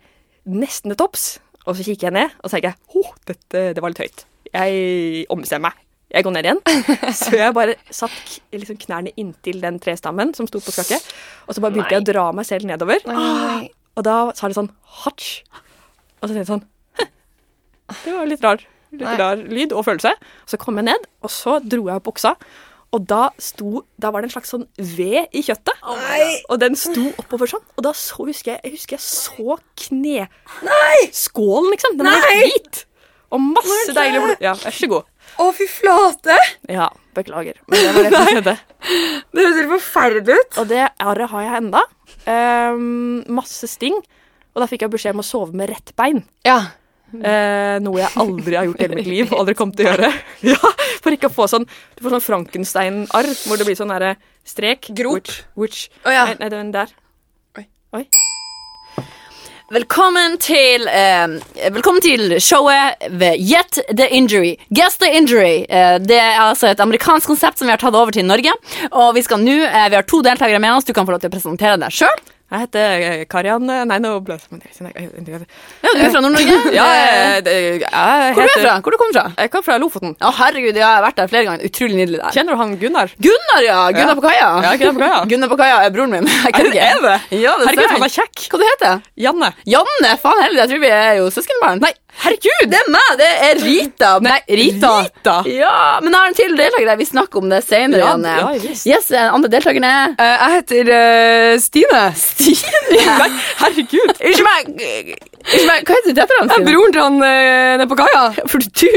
nesten til topps, og så kikker jeg ned, og så tenker jeg «Ho, dette det var litt høyt. Jeg ombestemmer meg. Jeg går ned igjen. Så jeg bare satt k- liksom knærne inntil den trestammen som sto på skakke, og så bare begynte jeg å dra meg selv nedover. Ah, Og da sa det sånn hatsj. Og så tenkte jeg sånn «Hm, Det var litt rar, litt rar lyd og følelse. Så kom jeg ned, og så dro jeg opp buksa. Og da, sto, da var det en slags sånn ved i kjøttet. og den sto oppover sånn. Og da så husker jeg, jeg husker jeg så kne... Nei! Skålen, liksom. Den var hvit. Og masse deilig blod. Ja, vær så god.
Å, fy flate!
Ja, beklager. Men det var det som skjedde.
Det høres helt forferdelig ut.
Og det arret har jeg enda. Ehm, masse sting. Og da fikk jeg beskjed om å sove med rett bein.
Ja.
Eh, noe jeg aldri har gjort i hele mitt liv, og aldri kommer til å gjøre. Ja, For ikke å få sånn Du får sånn Frankenstein-arr, hvor det blir sånn derre strek
Grop.
Which, which.
Å, ja.
Nei, nei, den der.
Velkommen til, eh, velkommen til showet ved Get the Injury. Guess the Injury. Eh, det er altså et amerikansk konsept som vi har tatt over til Norge. Og vi skal nå, eh, vi har to deltakere med oss. Du kan få lov til å presentere deg sjøl.
Jeg heter eh, Karian eh, Nei, nå ble jeg- men jeg jeg- jeg-
Ja, du er fra Nord-Norge.
Ja, eh, det- jeg heter
Hvor er du fra? Hvor du kommer du fra?
Jeg kommer fra Lofoten.
Å, herregud, ja, jeg har vært der flere ganger. Utrolig nydelig der.
Kjenner du han Gunnar?
Gunnar, ja. Gunnar
Ja.
på kaia.
Ja, Gunnar på kaia.
Gunnar på kaia er broren min. Jeg kødder ikke.
Er det?
Ja, det
Herregud,
ser jeg.
han er kjekk.
Hva du heter du?
Janne.
Janne, faen heller, jeg tror vi er jo søskenbarn. Nei, herregud, det er meg, det er Rita. Nei, Rita.
Rita.
Ja, men jeg har en til deltaker der, vi snakker om det senere,
Ja,
Janne.
ja, visst.
Yes, den andre deltakeren er...
jeg heter eh, Stine.
Nei, herregud.
Unnskyld meg, unnskyld meg, hva heter du til etternavn,
Jeg er
Stine?
broren til han eh, nede på kaia.
For du,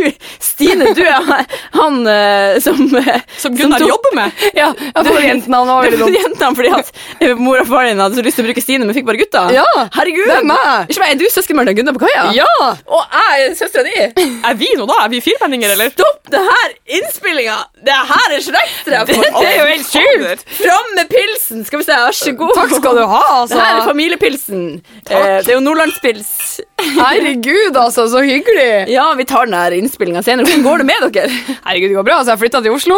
Stine, du er han eh, som... eh,
Som Gunnar
tok-
jobber med.
Ja,
Ja, for jentene han var
Det
veldig
var
dum.
jentene fordi at eh, mor og far din hadde så lyst til å bruke Stine, men fikk bare gutta.
Ja,
herregud.
det er meg.
Unnskyld meg, er du søskenbarn til Gunnar på kaia?
Ja!
Og jeg er søsteren din.
Er vi nå, da? Er vi firmenninger, eller?
Stopp det her innspillinga! Det her er slektstreff! Det er jo helt sjukt! Fram med pilsen! Skal vi se, vær så god.
Takk skal du ha,
Det
altså.
her er familiepilsen. Eh, det er jo nordlandspils.
Herregud, altså, så hyggelig.
Ja, vi tar den her innspillinga senere. Hvordan går det med dere?
Herregud, det går bra. Altså, jeg flytta til Oslo,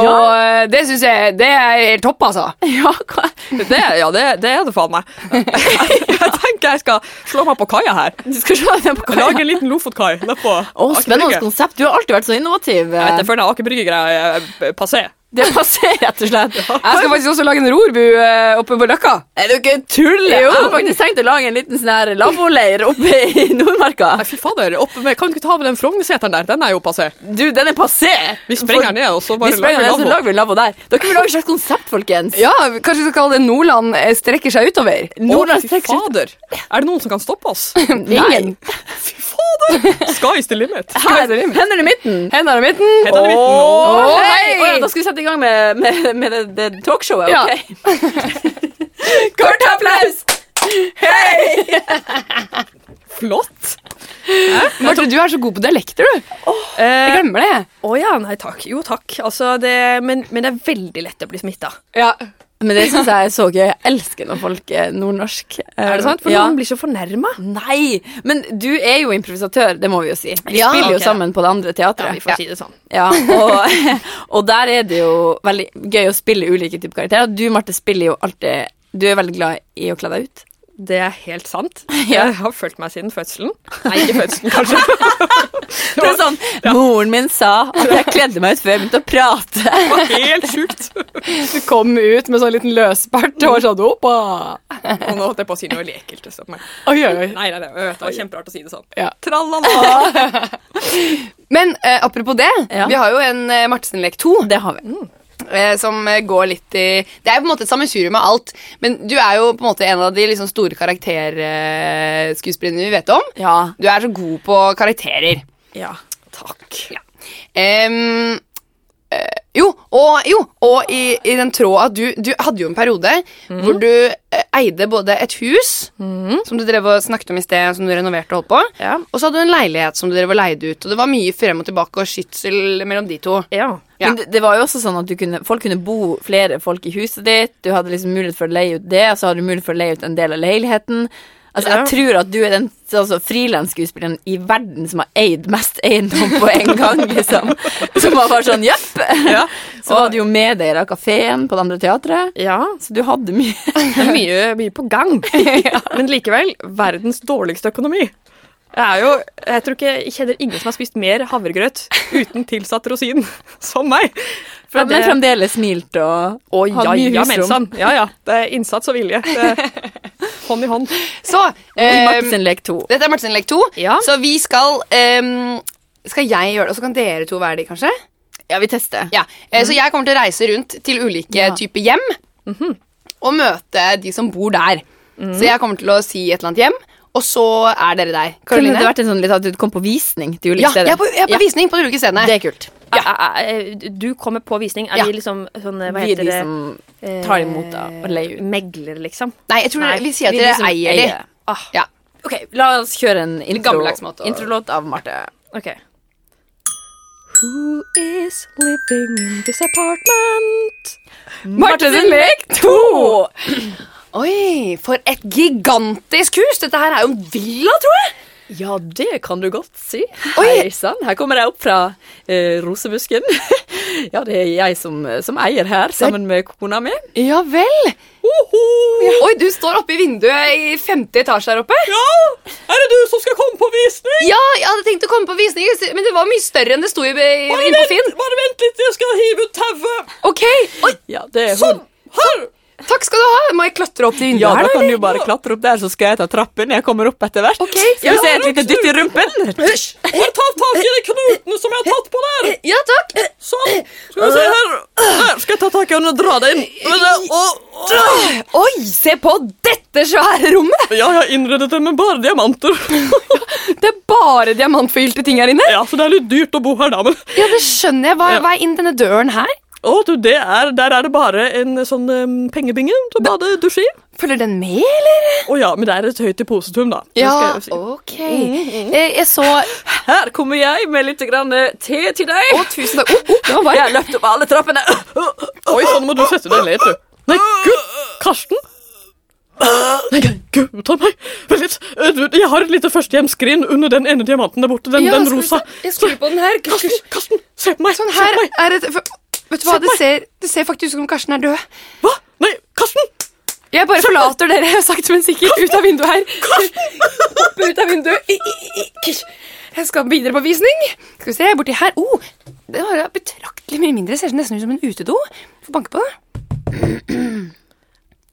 og eh, det syns jeg det er helt topp, altså.
Ja, hva?
Det, ja, det, det er det faen meg. Jeg tenker jeg skal slå meg på kaia her.
Du skal se den på kaia.
en liten Lofotkai.
Å, spennende konsept. Du har alltid vært så innovativ.
føler Aker Brygge-greia passé.
Det passer, rett og slett.
Jeg skal faktisk også lage en rorbu eh, oppe på Løkka.
Er du ikke tull? Jeg har faktisk tenkt å lage en liten sånn her lavvoleir oppe i Nordmarka.
Nei, fy fader, opp med, Kan du ikke ta med den Frognerseteren der? Den er jo passé.
Du, den er passé.
Vi sprenger den ned, og så bare
Vi sprenger
lager
den, så
lavvo.
lager vi en lavvo der. Dere vil lage et slags konsept, folkens.
Ja, Kanskje vi skal kalle det Nordland eh, strekker seg utover?
Nordland
Å, fy
strekker seg
fader. Er det noen som kan stoppe oss?
Ingen.
fy fader! Sky's the limit.
Her, hender i midten.
Hendene i midten. Hendene i midten.
Å,
Å,
hei! Å, ja, da
hei!
skal vi sette i gang med, med, med det, det talkshowet.
Ja.
ok? Kort applaus!
Flott. Marte, du er så god på dialekter, du.
Eh,
jeg glemmer det.
Å ja, nei takk. Jo takk. Altså, det, men, men det er veldig lett å bli smitta.
Ja.
Men det syns jeg er så gøy. Jeg elsker når folk er nordnorsk. Eh,
Er det sant? For
ja.
noen blir så fornærma.
Nei! Men du er jo improvisatør, det må vi jo si. Vi
Ja,
spiller jo
ok.
sammen på det andre teatret.
Ja, vi får si det sånn.
Ja, og, og der er det jo veldig gøy å spille ulike typer karakterer. Du, Marte, spiller jo alltid Du er veldig glad i å kle deg ut.
Det er helt sant.
Ja.
Jeg har følt meg siden fødselen. Nei, ikke fødselen, kanskje.
Det er sånn, Moren min sa at jeg kledde meg ut før jeg begynte å prate.
Det var helt sjukt. Du kom ut med sånn liten løspert og var sånn Oppa!
Og nå holdt jeg på å si noe lekelt. liksom. Nei,
Oi, oi, oi.
nei, nei, det var kjemperart å si det sånn.
Ja.
Tralala.
Men eh, apropos det,
Ja.
vi har jo en eh, Martsen-lek 2
Det har vi.
Mm.
eh, som eh, går litt i Det er jo på en måte et sammensurium av alt, men du er jo på en måte en av de liksom, store karakterskuespillerne vi vet om.
Ja.
Du er så god på karakterer.
ja.
Takk.
Em, eh, jo, og, jo, og i, i den tråda du, du hadde jo en periode hvor
Mhm.
du eh, eide både et hus, som du drev og snakket om i sted, som du renoverte og holdt på,
Ja.
og så hadde du en leilighet som du drev og leide ut. Og det var mye frem og tilbake og skytsel mellom de to.
Ja.
Ja.
Men det, det var jo også sånn at du kunne, folk kunne bo flere folk i huset ditt. Du hadde liksom mulighet for å leie ut det, og så hadde du mulighet for å leie ut en del av leiligheten. Altså,
Ja.
Jeg tror at du er den altså, frilansskuespilleren i verden som har eid mest eiendom på en gang. liksom. Som var bare sånn jepp. Så var du jo medeier av kafeen på det andre teatret.
Ja,
Så du hadde mye.
Det er mye, mye på gang. Men likevel, verdens dårligste økonomi. Jeg, er jo, jeg tror ikke jeg kjenner ingen som har spist mer havregrøt uten tilsatt rosin som meg. For
Men
det,
fremdeles smilt og
å, ja,
hadde mye
ja,
husrom.
sånn-
mensan. Ja, ja. Det er innsats og vilje. Det, hånd i hånd.
Så
I
em,
Martsen lek to.
Dette er Martsen lek 2,
Ja.
så vi skal em, Skal jeg gjøre det, og så kan dere to være de, kanskje?
Ja, vi tester. Mhm.
Ja, eh, Så jeg kommer til å reise rundt til ulike
Ja. Mhm.
typer hjem og møte de som bor der. Så jeg kommer til å si et eller annet hjem, og så er dere der.
Kunne
Karoline?
det vært en sånn litt at du kom på visning til ulike
ja,
steder?
jeg er på, jeg er på visning på de ulike stedene.
Det er kult.
Ja, Eh, du kommer på visning. Er
Ja.
de liksom sånn Hva
Vi er
heter
de
det? Eh,
som tar imot da, og leier ut.
Megler, liksom.
Nei, jeg tror
Nei,
vi sier at
vi
dere
liksom
eier de.
eier.
Ah,
Ja.
Ok, la oss kjøre en intro,
gammeldags måte å-
introlåt av Marte.
ok. Who is living in this apartment?
Marte sin lek 2!
Oi, for et gigantisk hus! Dette her er jo en villa, tror jeg!
Ja, det kan du godt si.
Oi.
Hei sann, her kommer jeg opp fra eh, rosebusken. ja, det er jeg som, eh, som eier her, sammen med kona mi.
Ja vel. Oi, du står oppe i vinduet i femte etasje der oppe.
Ja! Er det du som skal komme på visning?
Ja, jeg hadde tenkt å komme på visning, men det var mye større enn det sto i, i, inn på Finn.
bare vent litt, jeg skal hive ut tauet. Sånn,
Ok, oi,
Ja, det er hun.
Her!
takk skal du ha. Må jeg klatre opp til vinduet
Ja,
her,
da
da?
kan du bare klatre opp der, så skal jeg ta trappen. Jeg kommer opp etter hvert. Skal vi se et lite dytt i rumpen?
Bare ta tak i de knutene som jeg har tatt på der.
Ja, takk.
Sånn. Skal vi se her. Der skal jeg ta tak i henne og dra deg inn. Men, eh, og-
Oi, se på dette svære rommet.
Ja, jeg har innredet det med bare diamanter.
Det er bare diamantforgylte ting her inne.
Ja, så det er litt dyrt å bo her da, men
Ja, det skjønner jeg. Hva,
Ja.
hva er inn denne døren her?
Å, du, det er, der er det bare en sånn um, pengebinge til å bade dusje i.
Følger den med, eller?
Å ja, men det er et høyt depositum, da. Det skal
Ja,
jeg jo si.
ok. Eh, Jeg så Å,
Her kommer jeg med litt grann eh, te til deg.
tusen takk. Oh, oh, det var varm.
Jeg løpte opp alle trappene. Oi, sånn må du sette deg ned, du. Nei, gud, Karsten. Nei, gud, ta meg. Vent litt. Eh, Jeg har et lite førstehjemsskrin under den ene diamanten der borte. Den,
Ja,
den
skal vi se.
rosa.
Jeg skrur på den her. Karsten,
Karsten, Karsten, se på meg.
Sånn
se
her
på meg.
er et for- Vet du hva, det ser, det ser faktisk ut som Karsten er død.
Hva? Nei, Karsten.
Jeg bare forlater dere sakte, men sikkert ut av vinduet her. Hopper ut av vinduet. I, i, i, kish. Jeg skal videre på visning. Skal vi se, borti her. Oh, det var da betraktelig mye mindre. Ser nesten ut som en utedo. Får banke på det.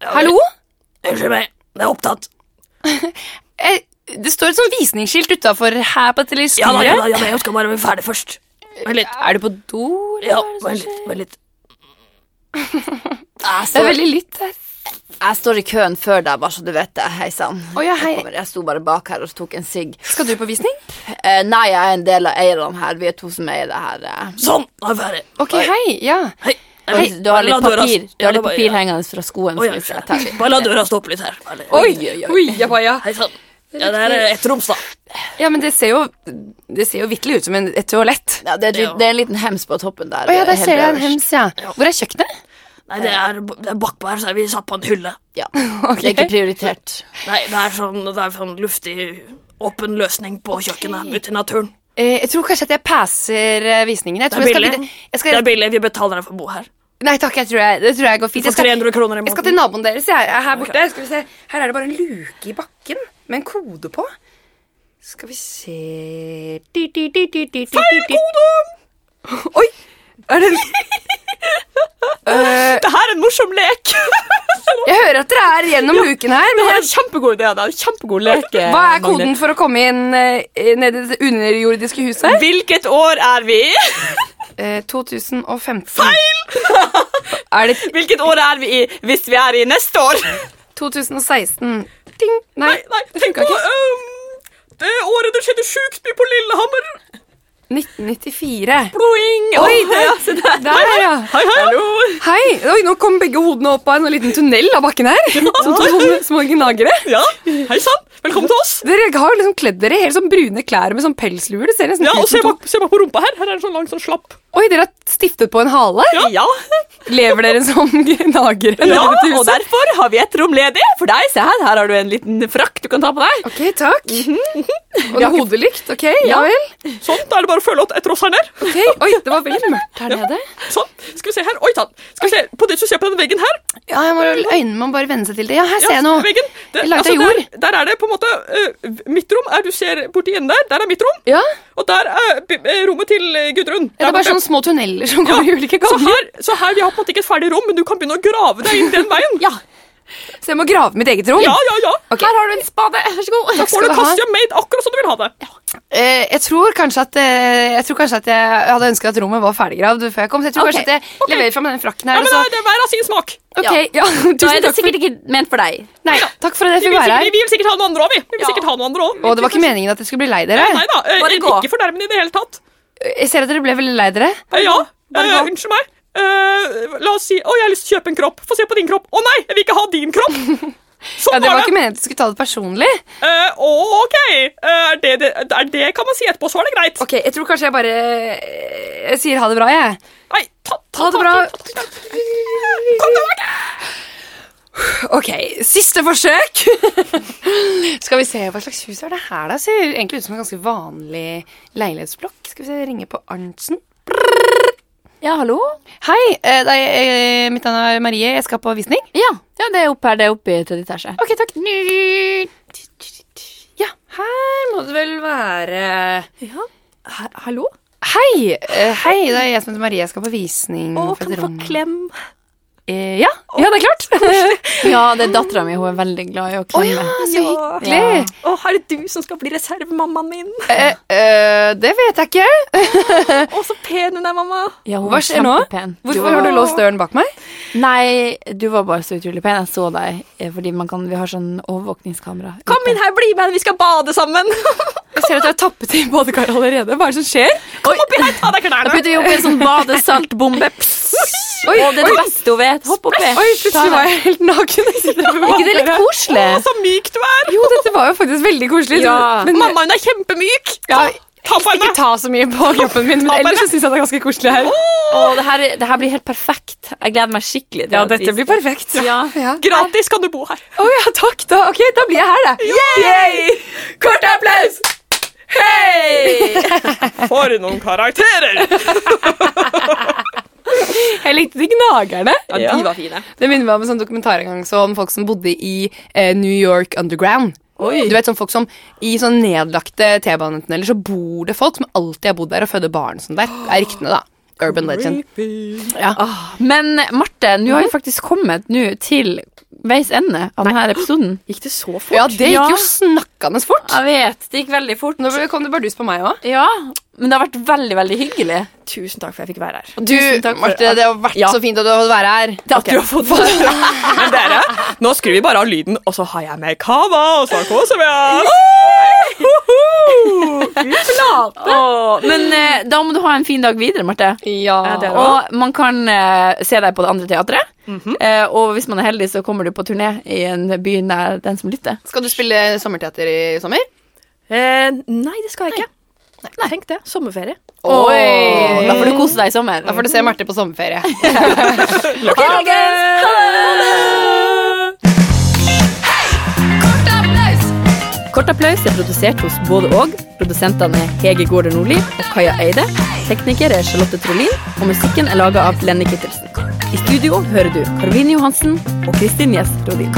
Hallo?
Unnskyld meg, det er opptatt.
Eh, Det står et sånt visningsskilt utafor her på
Ja, da, ja,
teleskopet.
da, ja, da, jeg skal bare være ferdig først. Vent litt.
Er du på do? eller
Ja,
hva er det som
vent
skjer?
litt, vent litt.
Jeg
Det er
står,
veldig litt her.
jeg står i køen før deg, bare så du vet det. Hei sann.
Å ja, hei.
Jeg kommer- Jeg sto bare bak her og tok en sigg.
Skal du på visning?
Eh, nei, jeg er en del av eierne her. Vi er to som eier det her. eh.
Sånn, da er jeg ferdig.
Ok, hei. Ja.
Hei.
Oi, Du har litt
La døra-
papir, du har litt
Ja, da bare-
papir hengende fra skoen.
Oi,
skal vi
ja,
se. Jeg tar
ja.
litt.
Bare la døra stoppe litt her. Bare-
Oi,
oi, oi.
oi, jabaja.
Hei sann. Ja, det er eh, et roms, da.
Ja, men det ser jo, det ser jo vitterlig ut som en, et toalett.
Ja, det, er, et litt- det er en liten hems på toppen der.
Å ja, der
helt
ser jeg en
øverst.
hems, ja. Hvor er kjøkkenet?
Nei, det er, det er bakpå her, så er vi satt på en hylle.
Ja. Det er ikke prioritert.
Nei, det er sånn, det er sånn luftig, åpen løsning på kjøkkenet ute i naturen.
Eh, jeg tror kanskje at jeg passer eh, visningen. Jeg
Det
tror
er
jeg skal
billig.
videre. Jeg
Det er
skal,
billig, vi betaler deg for å bo her.
nei takk, jeg tror jeg, det tror jeg går fint.
For
Jeg skal,
300 kroner i
jeg skal til
måneden.
naboen deres jeg, er her borte. Skal vi se. Her er det bare en luke i bakken med en kode på. Skal vi se Feil kode! Oi! Er det Eh,
Det her er en morsom lek.
Jeg hører at dere er gjennom luken her.
Det
Men
er en kjempegod idé. Det er en kjempegod lek. eh,
hva er
Magnhild.
koden for å komme inn eh, ned i det underjordiske huset?
Hvilket år er vi i?
Eh, 2015. Feil! er det
Hvilket år er vi i hvis vi er i neste år?
2016? Ting. Nei,
Nei, tenk på ehm, det året det skjedde sjukt mye på Lillehammer.
1994.
Boing!
Oi,
Åh,
det,
ja, se der.
der, ja.
Hei, hei. Hallo.
Hei! Oi, nå kom begge hodene opp av en sånn liten tunnel av bakken her. Som to sånne små gnagere.
Ja, hei sann. Velkommen til oss.
Dere har jo liksom kledd dere i helt sånn brune klær med sånn pelsluer. Det ser nesten
Ja,
ut
og se
som to-
bak, se bak på rumpa her. Her er en sånn lang sånn slapp.
Oi, dere har stiftet på en hale?
Ja,
Lever dere som gnagere? nede
ja,
i dette
og
huset?
derfor har vi et rom ledig for deg. Se her, her har du en liten frakk du kan ta på deg.
Ok, takk. Og det er hodelykt. Ok, ja vel.
Sånn, da er det bare å følge opp etter oss her nede.
Ok, Oi, det var veldig mørkt her nede.
Sånn, skal vi se her. Oi, tann. Skal vi se på det som ser på den veggen her.
Ja, jeg må, øynene må bare venne seg til det. Ja, her
Ja,
ser jeg noe.
Veggen. Det,
Jeg lagde
altså,
jord.
Der, der er det på en måte eh, mitt rom. Er, du ser borti enden der. Der er mitt rom.
Ja,
Og der er b- eh, rommet til eh,
ja,
Gudrun.
det
Der
er bare
borte.
sånne små tunneler som går i ulike
Så
ganger.
her, så her, vi har på en måte ikke et ferdig rom, men du kan begynne å grave deg inn den veien. ja.
Så jeg må grave mitt eget rom.
ja, ja,
Ok.
Her har du en spade. Vær så god.
Da
skal
får du
du ha.
custom made akkurat som du vil ha det.
Eh, jeg, tror kanskje at, eh, jeg tror kanskje at jeg hadde ønska at rommet var ferdiggravd før jeg kom. Så jeg tror
Ok,
kanskje at jeg leverer fram denne frakken
Ja,
her.
men
og så-
det er hver av sin smak.
ok, ja,
Da er
tusen takk
det
for,
sikkert ikke ment for deg.
nei, takk for at jeg fikk
Vi vil
være
sikkert,
her.
vi vil sikkert ha noen andre òg, vi. vi vil
Ja.
sikkert ha noen andre også.
Og det var ikke meningen at jeg skulle bli lei dere.
Nei da, eh,
Bare
ikke
gå.
fornærmende i det hele tatt.
Jeg ser at dere ble veldig lei dere.
Eh, ja,
Bare
eh,
gå.
unnskyld meg. Eh, la oss si Å, jeg har lyst til å kjøpe en kropp. Få se på din kropp. Å nei, jeg vil ikke ha din kropp! Sånn
Ja, det var
var
ikke
det.
meningen at jeg skulle ta det personlig.
Eh, å, OK. Eh, er det, det, er det kan man si etterpå, så er det greit.
Ok, Jeg tror kanskje jeg bare eh, Jeg sier ha det bra, jeg.
Nei, ta, ta,
Ha det
ta-
bra.
ta- ta- ta- Kom tilbake!
Ok, siste forsøk. Skal vi se, hva slags hus er det her da? Ser egentlig ut som en ganske vanlig leilighetsblokk. Skal vi se, ringe på Arntzen.
Ja, hallo?
Hei, eh, det er, eh, mitt navn er Marie, jeg skal på visning.
Ja, ja det er oppe her. Det er oppe i tredje etasje.
Ok, takk. Ja, her må det vel være...
hallo?
Hei, eh, hei, det er jeg som heter Marie, jeg skal på visning. for et rom.
klem?
Eh, Ja, ja, det er klart.
Ja, det er dattera mi. Hun er veldig glad i å
Å
klemme.
ja, så hyggelig.
Å, er det du som skal bli reservemammaen min?
Eh, eh, det vet jeg ikke.
Å, så pen hun er, mamma.
Ja, hun
Hva
er
Eh, skjer nå?
kjempepen. Du
Hvorfor
var-
har du låst døren bak meg?
Nei, du var bare så utrolig pen. Jeg så deg eh, fordi man kan, vi har sånn overvåkningskamera.
Kom inn her, bli med, vi skal bade sammen.
Jeg ser at jeg har tappet i badekar allerede. Hva er det som skjer?
Kom oppi her, ta deg
Da
knærne.
sånn
putter vi oppi en sånn badesaltbombe. Pss. og det er det beste hun vet. Hopp oppi.
Oi, plutselig var jeg helt naken. Jeg sitter
Er ikke det litt koselig?
Så myk du er!
Jo, dette var jo faktisk veldig koselig.
Ja.
Men
Mamma, hun er kjempemyk! ta på henne! Ikke ta så mye på kroppen min, men ellers syns jeg det er ganske koselig her.
Å, det, her, det her blir helt perfekt. Jeg gleder meg skikkelig. til
Ja,
at vi
dette blir
skal-
perfekt.
Ja.
Gratis kan du bo her.
Å ja, takk, da. Ok, da blir jeg her, da.
Yay! Kort applaus! Hei! For noen karakterer! Jeg likte de gnagerne.
Ja, de var fine.
Det minner meg om en sånn dokumentar en gang så om folk som bodde i eh, New York Underground. Du vet sånn folk som I sånn nedlagte T-banetunneler så bor det folk som alltid har bodd der og føder barn sånn der. Det er ryktene, da. Urban legend.
Men eh, Marte, nå har vi faktisk kommet nå til veis ende av denne episoden.
Gikk det så fort?
Ja, det gikk
Ja. Ah.
jo snakkende fort.
Jeg vet, det gikk veldig fort.
Nå kom det bardus på meg òg.
Ja, men det har vært veldig, veldig hyggelig.
Tusen takk for jeg fikk være her.
Du, Marte, det har vært
Ja.
så fint at du har fått være her.
Takk okay. du har fått det.
Men dere, nå skrur vi bare av lyden, og så har jeg med kava, og så koser vi oss.
Åh, men eh, da må du ha en fin dag videre, Marte.
Ja.
det er-
Og man kan eh, se deg på det andre teatret. eh, og hvis man er heldig, så kommer du på turné i en by nær den som lytter.
Skal du spille sommerteater i sommer?
Eh, nei, det skal jeg ikke. Tenk det. Sommerferie.
Åh, Da får du kose deg i sommer.
Da får du se Marte på sommerferie.
Kort applaus er produsert hos både og. Produsentene er Hege Gaarder Nordli og Kaja Eide. Tekniker er Charlotte Trolin, og musikken er laga av Lenny Kittelsen. I studio hører du Karoline Johansen og Kristin Gjess Rodin.